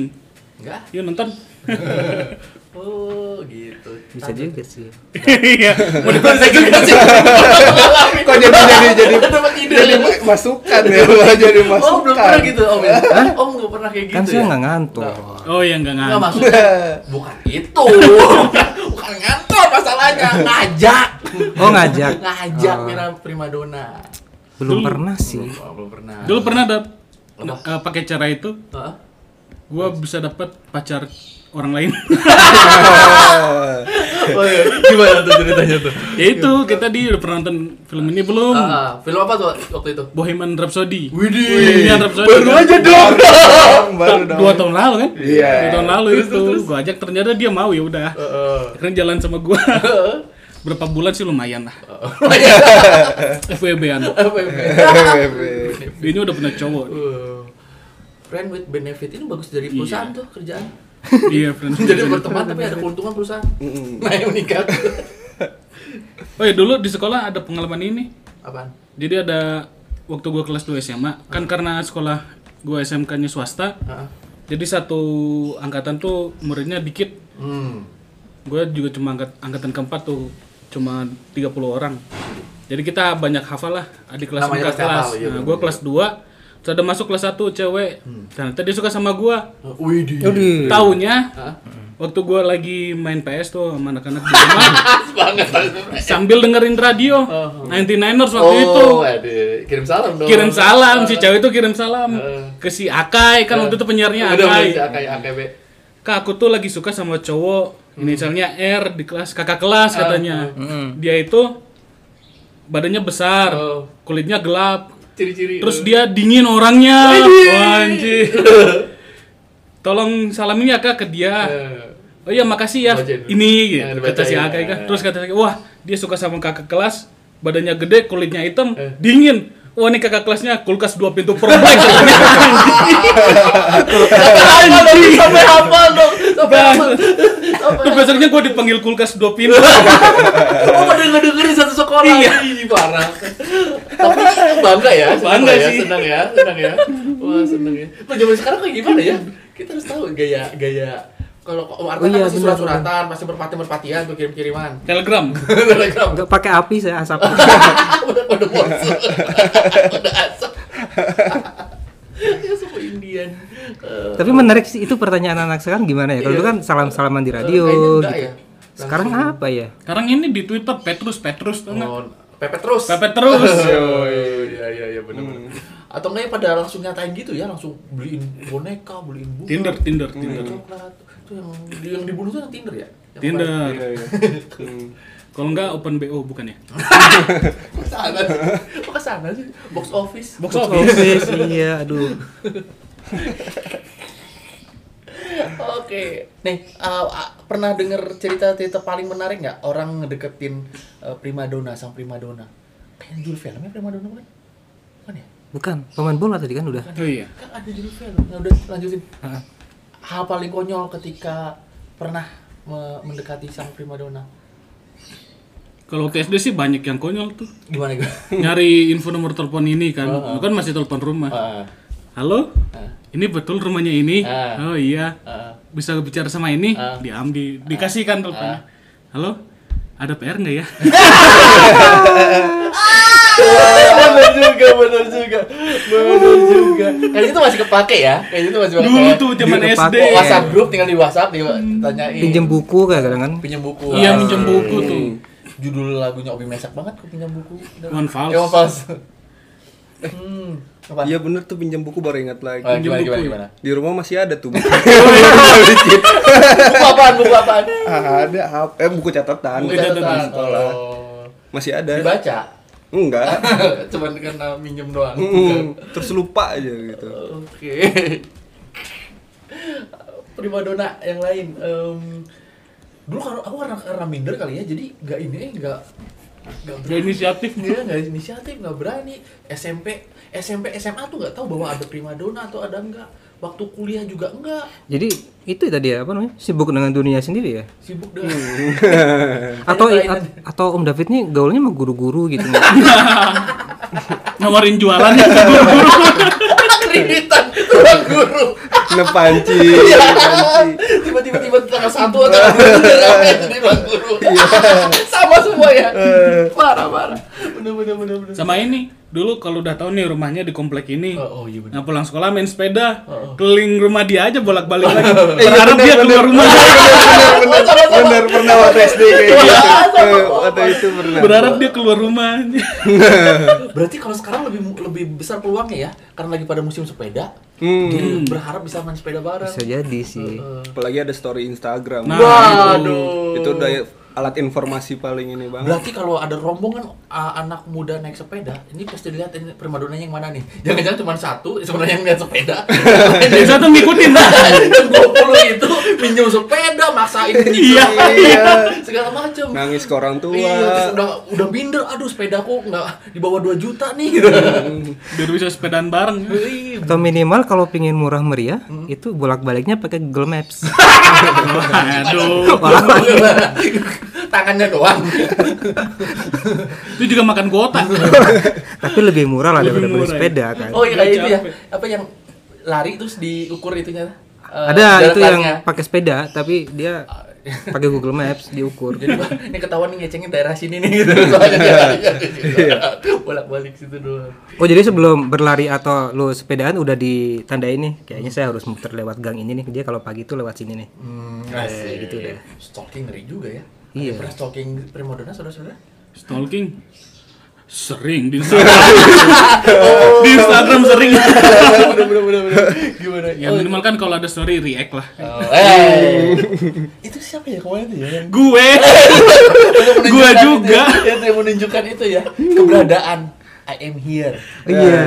Nggak.
Yuk nonton.
Oh gitu.
Bisa juga sih.
Iya. Mau
Udah saya juga sih.
Kok jadi jadi jadi
Dapat ide.
jadi kan? masukan ya, malah jadi
Oh belum
masukan.
pernah gitu om ya? Om nggak pernah kayak gitu
Kan saya
ya?
nggak ngantuk.
Oh ya nggak
Nggak
ngantuk.
masuk. Bukan itu. Bukan ngantor masalahnya. Ngajak.
Oh, ngajak.
Ngajak
Oh.
Mira Primadona.
Belum
Dulu.
pernah sih.
Oh, belum pernah.
Dulu pernah ada
Apa?
eh, pakai cara itu,
Heeh.
gua bisa dapat pacar orang lain.
Oh, iya. Gimana tuh ceritanya tuh?
ya itu
Iya.
kita di udah pernah nonton film ini belum?
Ah, film apa tuh waktu itu?
Bohemian Rhapsody.
Widih.
Bohemian Rhapsody.
Baru
kan?
aja dong. Baru
Ta-
dong.
dua tahun lalu kan?
Iya.
Dua tahun lalu itu gua ajak ternyata dia mau ya udah. Akhirnya jalan sama gua. Berapa bulan sih lumayan lah.
Oh, iya.
FWB-an.
ya?
FWB.
anu. Dia ini udah punya cowok.
Eh, Friend with benefit ini bagus dari perusahaan tuh kerjaan.
Iya, friends.
Jadi berteman tapi ada keuntungan perusahaan. Nah yang meningkat.
Oh ya dulu di sekolah ada pengalaman ini.
Apaan?
Jadi ada waktu gua kelas 2 SMA, kan
Hmm.
karena sekolah gua SMK-nya swasta,
Heeh.
jadi satu angkatan tuh muridnya dikit.
Hmm.
Gua juga cuma angkat, angkatan keempat tuh cuma 30 orang. Jadi kita banyak hafal lah adik kelas
Namanya
buka
pasti
kelas.
hafal, iya Hmm.
nah,
bener,
gua kelas 2 terus ada masuk kelas 1 cewek. Ternyata dia suka sama gua.
Widih.
Aduh.
Taunya waktu gua lagi main PS tuh sama anak-anak di rumah
Pas banget.
sambil dengerin radio 99ers waktu itu.
Oh, aduh. Kirim salam dong.
kirim salam si cewek itu kirim salam ke si Akai kan waktu itu penyiarnya
Udah udah
Akai.
si Akai Akai B.
Kak aku tuh lagi suka sama cowok
Hmm.
inisialnya R di kelas kakak kelas katanya. Dia itu badannya besar,
Oh.
kulitnya gelap,
Ciri-ciri.
terus dia dingin orangnya. Wah, anjir. Tolong salamin ya Kak ke dia.
Eh,
Oh iya makasih ya.
Oh, jadi-
Ini gitu.
Nah,
kata si
dibacain.
Akai kan.
Nah.
Terus kata si Akai, wah, dia suka sama kakak kelas, badannya gede, kulitnya hitam,
Eh.
dingin. Wah, ini kakak kelasnya kulkas dua pintu perempuan.
Hafal dong, sampai hafal dong. Sampai hafal.
Terus besoknya gue dipanggil kulkas dua pintu.
Oh, pada ngedengerin satu sekolah.
Iya.
Ih, parah. Tapi bangga ya, senang
Bangga
ya,
sih.
senang ya, senang ya. Wah, senang ya. Nah, zaman sekarang kayak gimana ya? Kita harus tahu gaya gaya kalau Om Arta
Oh,
kan
iya,
masih
benar,
surat-suratan, masih berpati-berpatian, berkirim-kiriman.
Telegram.
Telegram.
Nggak pakai api saya asap.
udah pada bosan udah asap ya semua Indian Eh,
Tapi menarik sih itu pertanyaan anak sekarang gimana ya? Kalau dulu kan salam-salaman di radio
Eh, kayaknya enggak
gitu.
ya.
Sekarang apa ya?
Sekarang ini di Twitter Petrus Petrus tuh nggak?
oh, pepet terus
Pepet terus.
oh iya iya iya benar benar atau enggak ya pada langsung nyatain gitu ya langsung beliin boneka beliin bunga
Tinder Tinder
beliin
Tinder.
coklat Itu yang yang dibunuh tuh yang Tinder ya? Yang
Tinder.
Iya, iya. Hmm.
Kalau enggak open BO bukan ya?
kemarin. Kesana sih. Kok kesana sih? Box office.
Box
Box
office.
office, iya, aduh.
Oke. Nih, uh, uh, pernah dengar cerita-cerita paling menarik nggak orang ngedeketin uh, primadona sang primadona? Kayak judul filmnya primadona bukan? Bukan ya?
Bukan, pemain bola tadi kan udah.
Oh iya.
Kan ada judul film. Nah, udah lanjutin.
Ah,
Hal paling konyol ketika pernah me- mendekati sang primadona.
Kalau waktu SD sih banyak yang konyol tuh.
Gimana gue?
Nyari info nomor telepon ini kan. Lu kan masih telepon rumah.
Ah,
Halo? Ini betul rumahnya ini?
Ah.
Oh iya.
ah.
Bisa bicara sama ini?
Ah.
Diambil, dikasihkan teleponnya. Halo? Ada PR nggak ya?
bener juga, bener juga, bener juga. Kayaknya itu masih kepake ya? Kayaknya itu masih kepake.
Dulu tuh zaman
Dulu
SD.
pakai
WhatsApp grup tinggal di WhatsApp ditanyain.
Pinjem buku kadang kan.
pinjam buku.
Iya
Ah,
minjem buku tuh.
Judul lagunya Obi Mesak banget kok pinjam buku.
One False.
Eh, One False. hmm. Apa?
Iya bener tuh pinjam buku baru ingat lagi.
Oh, gimana,
pinjam
gimana,
buku.
gimana?
Di rumah masih ada tuh. buku.
Buku apaan? Buku apaan?
ada hap- eh buku
Kan
catatan.
Buku
Buku catatan
catatan.
sekolah.
Oh.
Masih
Iya.
ada.
Dibaca.
Enggak.
Cuman karena minjem doang.
Ah,
Mm, terus lupa aja gitu.
Oke. Primadona yang lain. Em, dulu kalau aku karena karena minder kali ya, jadi nggak ini nggak nggak
Gak
berani.
inisiatif.
Dia nggak inisiatif, nggak berani. SMP, SMP, SMA tuh nggak tahu bahwa ada primadona atau ada enggak. Waktu kuliah juga enggak.
Jadi itu tadi ya, apa namanya? Sibuk dengan dunia sendiri ya?
Sibuk dengan
Atau
Jadi lain-
at- atau Om David nih gaulnya sama guru-guru gitu.
Nawarin jualan.
kreditan tukang guru.
Nepanci.
Iya.
Tiba-tiba tiba tanggal satu atau tanggal dua rame itu di ruang guru. Sama semua ya. Parah parah. Bener bener bener bener.
Sama ini. Dulu kalau udah tahu nih rumahnya di komplek ini.
Oh, oh, iya bener. Oh,
Nah pulang sekolah main sepeda, keliling rumah dia aja bolak-balik lagi.
iya,
Berharap
bener,
dia
bener.
keluar rumah,
Bener, bener pernah waktu SD kayak gitu. Eh, Waktu itu pernah.
berharap dia keluar rumah.
Berarti kalau sekarang lebih lebih besar peluangnya ya, karena lagi pada musim sepeda,
Hmm.
jadi berharap bisa main sepeda bareng.
Bisa jadi sih.
Apalagi ada story Instagram.
Nah,
Waduh.
Itu udah alat informasi paling ini banget.
Berarti kalau ada rombongan uh, anak muda naik sepeda, ini pasti dilihat ini primadonanya yang mana nih? Jangan-jangan cuma satu, sebenarnya yang lihat sepeda.
Yang satu ngikutin lah.
Dan 20 itu minjem sepeda, maksain
Iya.
segala macam.
Nangis ke orang tua.
Iya, terus udah udah minder, aduh sepedaku nggak di bawah 2 juta nih gitu.
Biar bisa sepedaan bareng.
Wih,
Atau minimal kalau pingin murah meriah, itu bolak-baliknya pakai Google Maps.
Aduh.
Tangannya doang.
Itu juga makan kuota.
Tapi lebih murah lah
Lebih
daripada beli
murah ya.
sepeda kan.
Oh iya kayak
Nggak
itu ya.
capek.
Apa yang lari terus diukur itunya? eh,
Ada
jarak
itu yang
larinya.
pakai sepeda, tapi dia pakai Google Maps diukur.
Jadi wah, ini ketahuan nih ngecengin daerah sini nih gitu. Soalnya dia larinya ke situ. Bolak-balik situ doang.
Oh jadi sebelum berlari atau lu sepedaan udah ditandain nih Kayaknya saya harus muter lewat gang ini nih Dia kalau pagi tuh lewat sini nih
Asik. gitu deh. Stalking ngeri juga ya.
Iya.
Pernah stalking primadona saudara-saudara?
Stalking. Sering di Instagram. Di Instagram sering.
bener bener bener bener. Gimana?
Ya minimal kan kalau ada story react lah.
Oh, eh. itu siapa ya kemarin tuh ya? Yang-
Gue.
yang menunjukkan
Gua
itu
juga.
ya, Itu yang menunjukkan itu ya keberadaan I am here.
Iya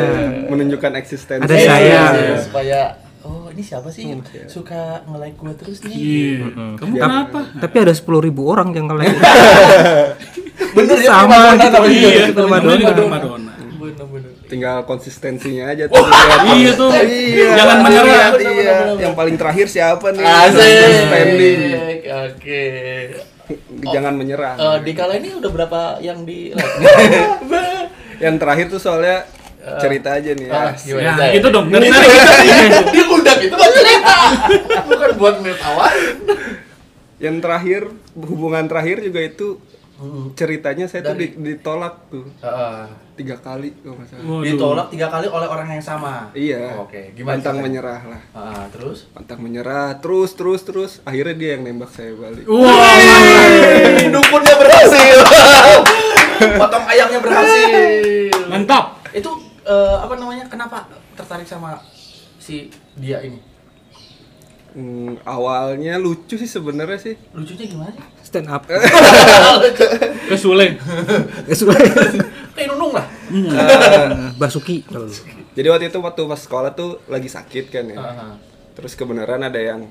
Menunjukkan eksistensi.
Ada saya.
iya, supaya oh ini siapa sih yang suka nge-like gua terus nih?
Iya. Kamu kenapa?
Tapi ada 10.000 ribu orang yang nge-like
Bener ya
Sama,
primadona
gitu.
namanya.
Iya,
Namanya
Madonna.
primadona.
Madonna.
Bener bener.
Tinggal konsistensinya aja tuh. dilihat.
Iya tuh. Jangan
Iya,
menyerah.
Iya, yang paling terakhir siapa nih? Standing.
Asik. Oke.
Jangan menyerah.
Eh, di kala ini udah berapa yang di like?
Yang terakhir tuh soalnya cerita aja nih ya.
Ah, gimana,
Ya,
Zai?
gitu dong. Iya. Dari-dari
Dia undang itu buat cerita. Bukan buat metawan.
Yang terakhir hubungan terakhir juga itu ceritanya saya tuh di- ditolak tuh tiga kali kalau nggak salah.
Waduh.
Ditolak tiga kali oleh orang yang sama.
Iya.
Oh, Oke, gimana? ceritanya?
Pantang menyerah lah.
Ah, terus?
Pantang menyerah terus terus terus akhirnya dia yang nembak saya balik.
Hei, Dukunnya berhasil. Potong ayamnya berhasil.
Mantap.
Itu eh, apa namanya? Kenapa tertarik sama si dia ini?
Hmm, awalnya lucu sih sebenarnya sih.
Lucunya gimana sih?
stand up
Ke Sule.
Kayak nunung lah.
Eh, Basuki kalau dulu.
Jadi waktu itu waktu pas sekolah tuh lagi sakit kan ya.
Heeh.
Terus kebenaran ada yang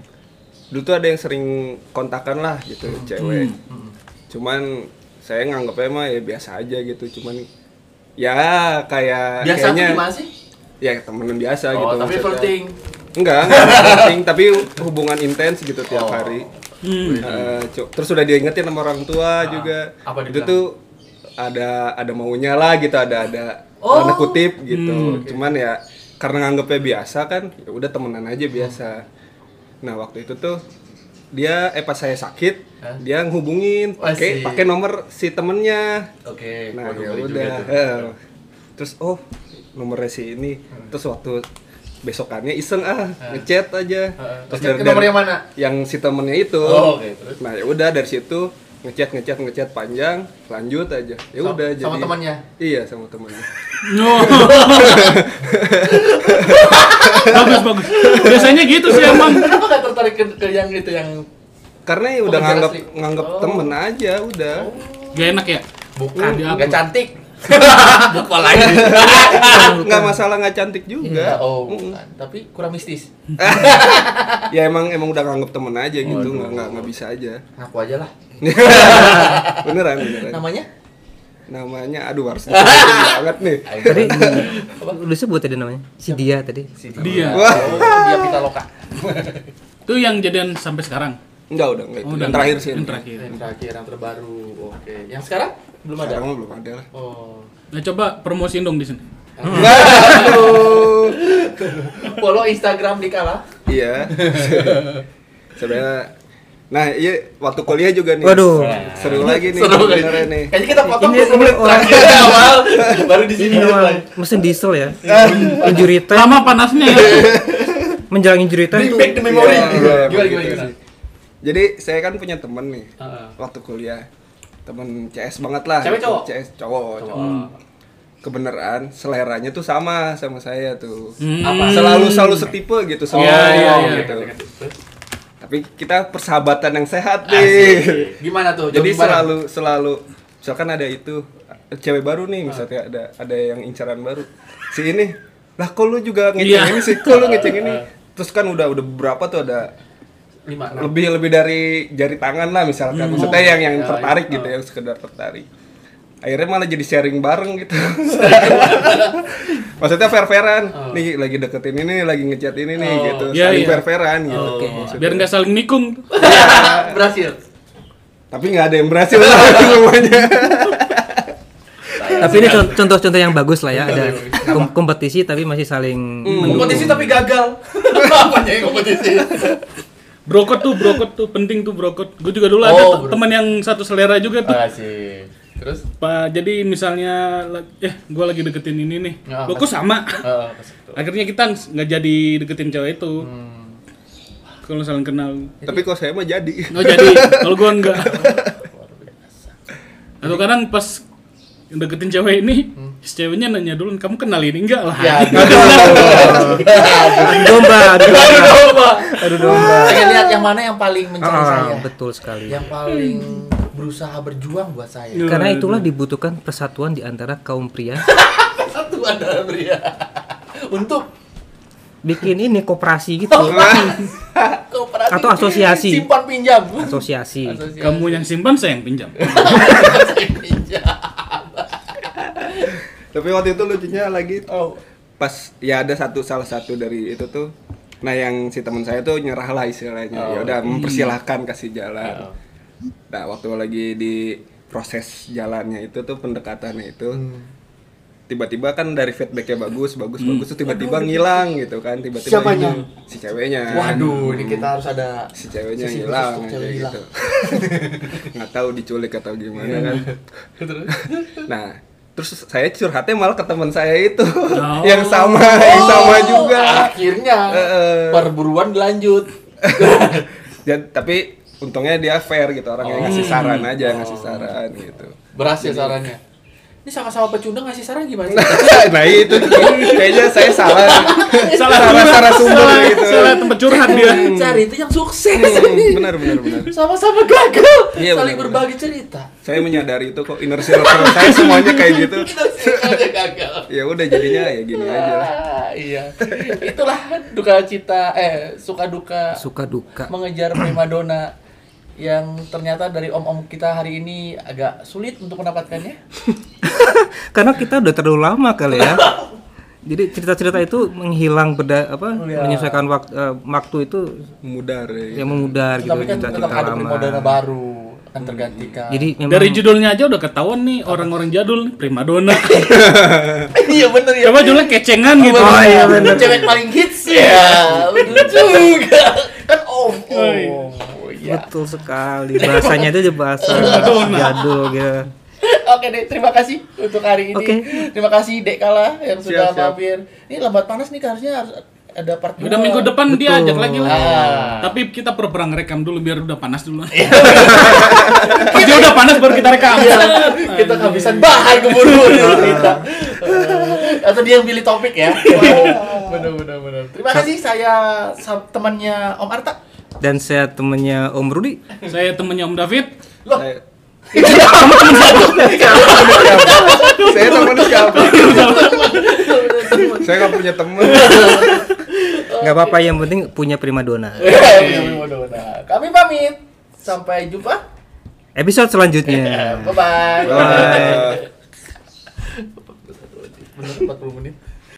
dulu tuh ada yang sering kontakan lah gitu
Hmm.
cewek. Cuman saya nganggapnya mah ya biasa aja gitu. Cuman ya kayak
Biasa tuh
kayaknya
gimana sih?
ya temenan
Oh,
biasa gitu
tapi
maksudnya.
flirting.
Enggak, enggak flirting, tapi hubungan intens gitu tiap
Oh.
hari. Eh, cu- terus udah diingetin sama orang tua juga.
Ah, apa
itu
dibilang?
tuh ada ada maunya lah gitu, ada ada
Oh.
tanda kutip gitu.
Hmm,
Cuman ya karena nganggepnya biasa kan, ya udah temenan aja biasa. Nah, waktu itu tuh dia eh pas saya sakit,
Hah? Oh,
dia ngehubungin pakai
Asik.
pakai nomor si temennya
Oke,
nah
waduh,
ya
ngeri juga
udah
tuh. Hmm.
heeh. terus oh nomornya si ini terus waktu besokannya iseng ah ngechat aja
Heeh.
terus
Hmm. Ngechat ke nomor yang mana?
yang si temennya itu
Oh, oke, terus?
nah ya udah dari situ ngechat ngechat ngechat panjang lanjut aja ya
Sama-
udah
sama
jadi
temannya?
iya sama temannya
No. bagus bagus. Biasanya gitu sih emang.
Kenapa gak tertarik ke, ke yang itu yang
karena ya
Bukan
udah nganggap
Oh, asli.
nganggap
Oh.
temen aja udah
Gak enak ya.
bukan
Dia
nggak
apa?
cantik? bukan lagi.
nggak masalah nggak cantik juga
oh, bukan. Tapi kurang mistis.
ya emang emang udah nganggap temen aja gitu nggak nggak nggak bisa aja
Ngaku aja lah.
beneran beneran
Namanya?
namanya aduh harus disebutin banget nih
tadi lu sebut tadi namanya si dia tadi
Si
Dia.
Oh, dia Pitaloka.
Tuh yang jadian sampai sekarang.
enggak udah enggak itu yang terakhir sih
Oh, Yang terakhir.
Yang terakhir yang terbaru. Oke. Yang sekarang belum ada.
sekarang mah belum ada lah
Oh.
Nah coba promosiin dong di sini.
Aduh.
Follow Instagram di Kala.
iya sebenarnya nah iya waktu kuliah juga nih
Waduh.
seru lagi nih
Seru kan?
sebenarnya nih
Kayaknya kita potong
Ini-
dulu
ini
menit
orang-
terakhir di awal baru di sini.
ini memang mesin diesel ya injury time
Lama panasnya ya.
menjelang
Bring
injury time
back the memory.
Iya, iya,
Gimana
gitu
gimana gimana?
sih. jadi saya kan punya temen nih
Ah,
Heeh.
waktu kuliah temen CS banget lah
Cewek cowok?
CS cowok, cowok.
Wah.
kebenaran seleranya tuh sama sama saya tuh
Hmm.
Apa?
selalu selalu setipe gitu selalu
Iya, iya, iya.
gitu tapi kita persahabatan yang sehat nih
Gimana tuh?
jadi
Jogging bareng?
selalu selalu misalkan ada itu cewek baru
Ah.
nih misalnya ada ada yang incaran baru si ini lah kok lu juga ngeceng
Iya. Ah.
ini sih kok lu ngeceng ini terus kan udah udah beberapa tuh ada
lima enam.
lebih lebih dari jari tangan lah
Iya.
misalkan maksudnya yang
Ya,
yang tertarik gitu
Ah.
yang sekedar tertarik akhirnya malah jadi sharing bareng gitu maksudnya fair fairan nih lagi deketin ini lagi ngechat ini nih gitu
Ah. Iya,
saling
iya.
fair fairan gitu Maksudnya.
Biar nggak saling nikung.
Berhasil.
tapi nggak ada yang berhasil semuanya
tapi ini
kan-
con- contoh-contoh yang bagus lah
Iya,
ya ada kom- kompetisi tapi masih saling
Kompetisi tapi gagal. Apanya yang kompetisi?
Brokot tuh, brokot tuh penting tuh brokot. Gue juga dulu
Oh, Ah.
ada
brokot.
tuh teman yang satu selera juga tuh.
Makasih. Oh, Terus
Pak, jadi misalnya la- eh gue lagi deketin ini nih.
Ya,
Lo kok sama?
eh,
Akhirnya kita ngs- nggak jadi deketin cewek itu.
Hmm.
Kalau saling kenal.
tapi kok saya mah jadi
Oh jadi, kalau gue enggak. Atau kadang pas deketin cewek ini, si ceweknya nanya dulu, kamu kenal ini enggak lah?
ya
Nggak
gagal.
Adu domba adu domba.
Aduh, domba.
Adu domba
Saya lihat yang mana yang paling mencari saya.
Ah, betul sekali Iya.
Yang paling berusaha berjuang buat saya.
karena itulah dibutuhkan persatuan di antara kaum pria
Satu ada pria. Untuk
bikin ini koperasi gitu
Oh, kooperasi
Atau asosiasi.
simpan pinjam.
asosiasi
Asosiasi.
Kamu yang simpan, saya yang pinjam.
Saya pinjam.
tapi waktu itu lucunya lagi
Oh.
pas ya ada satu salah satu dari itu tuh nah yang si teman saya tuh nyerah lah istilahnya ya udah mempersilahkan kasih jalan nah waktu lagi di proses jalannya itu tuh pendekatannya itu tiba-tiba kan dari feedbacknya bagus bagus bagus tuh tiba-tiba ngilang gitu kan tiba-tiba
Siapanya?
ngilang. si ceweknya
Waduh, ini kita harus ada
si ceweknya
sisi khusus
ngilang
untuk
aja
cewek hilang.
gitu nggak tahu diculik atau gimana kan nah terus saya curhatnya malah ke teman saya itu yang sama yang sama juga
Akhirnya
Heeh.
perburuan dilanjut.
Dan- tapi untungnya dia fair gitu orang yang ngasih saran aja ngasih saran gitu
Berhasil sarannya. ini sama-sama pecundang ngasih saran gimana?
nah itu kayaknya saya salah
salah
salah
tempat-
salah sumber
salah,
gitu
salah tempat curhat dia
Cari itu yang sukses.
Hmm, benar benar benar
Sama-sama gagal.
Iya,
Saling
benar-benar.
berbagi cerita.
saya menyadari itu kok inner circle saya semuanya kayak gitu
Kita circle-nya gagal.
ya udah jadinya ya gini aja lah
Ah, iya. Itulah duka cita eh suka duka
suka duka
mengejar primadona yang ternyata dari om-om kita hari ini agak sulit untuk mendapatkannya.
karena kita udah terlalu lama kali ya jadi cerita-cerita itu menghilang beda apa
Iya.
menyesuaikan waktu, waktu itu
mudar ya.
yang memudar gitu
Tapi kan tetap
cerita-cerita
ada primadona
lama
baru akan tergantikan.
jadi memang
dari judulnya aja udah ketahuan nih orang-orang jadul nih primadona
iya bener ya.
coba judulnya kecengan gitu
Oh, iya, bener. Iya.
Cewek paling hits ya. Bener juga. Kan om. om. Iya.
betul sekali bahasanya itu aja bahasa jadul gitu
Oke deh, terima kasih untuk hari ini.
Oke.
Terima kasih Dek Kala yang sudah
Siap, siap.
mampir. Ini lambat panas nih harusnya harus ada part
udah
dua.
minggu depan dia
Betul.
ajak lagi lah
Ah.
tapi kita pura-pura ngerekam dulu biar udah panas dulu pas dia udah panas baru kita rekam
Iya, kita kehabisan bahan keburu kita. Eh, Atau dia yang pilih topik ya. bener bener bener. Terima kasih saya sa- temannya Om Arta.
dan saya temennya Om Rudi
saya temennya Om David
Loh,
Saya, saya teman siapa? saya nggak punya teman.
nggak apa-apa yang penting punya primadona
kami pamit. Sampai jumpa.
episode Iya. selanjutnya
Bye bye.
Eh,
Bener 40 menit.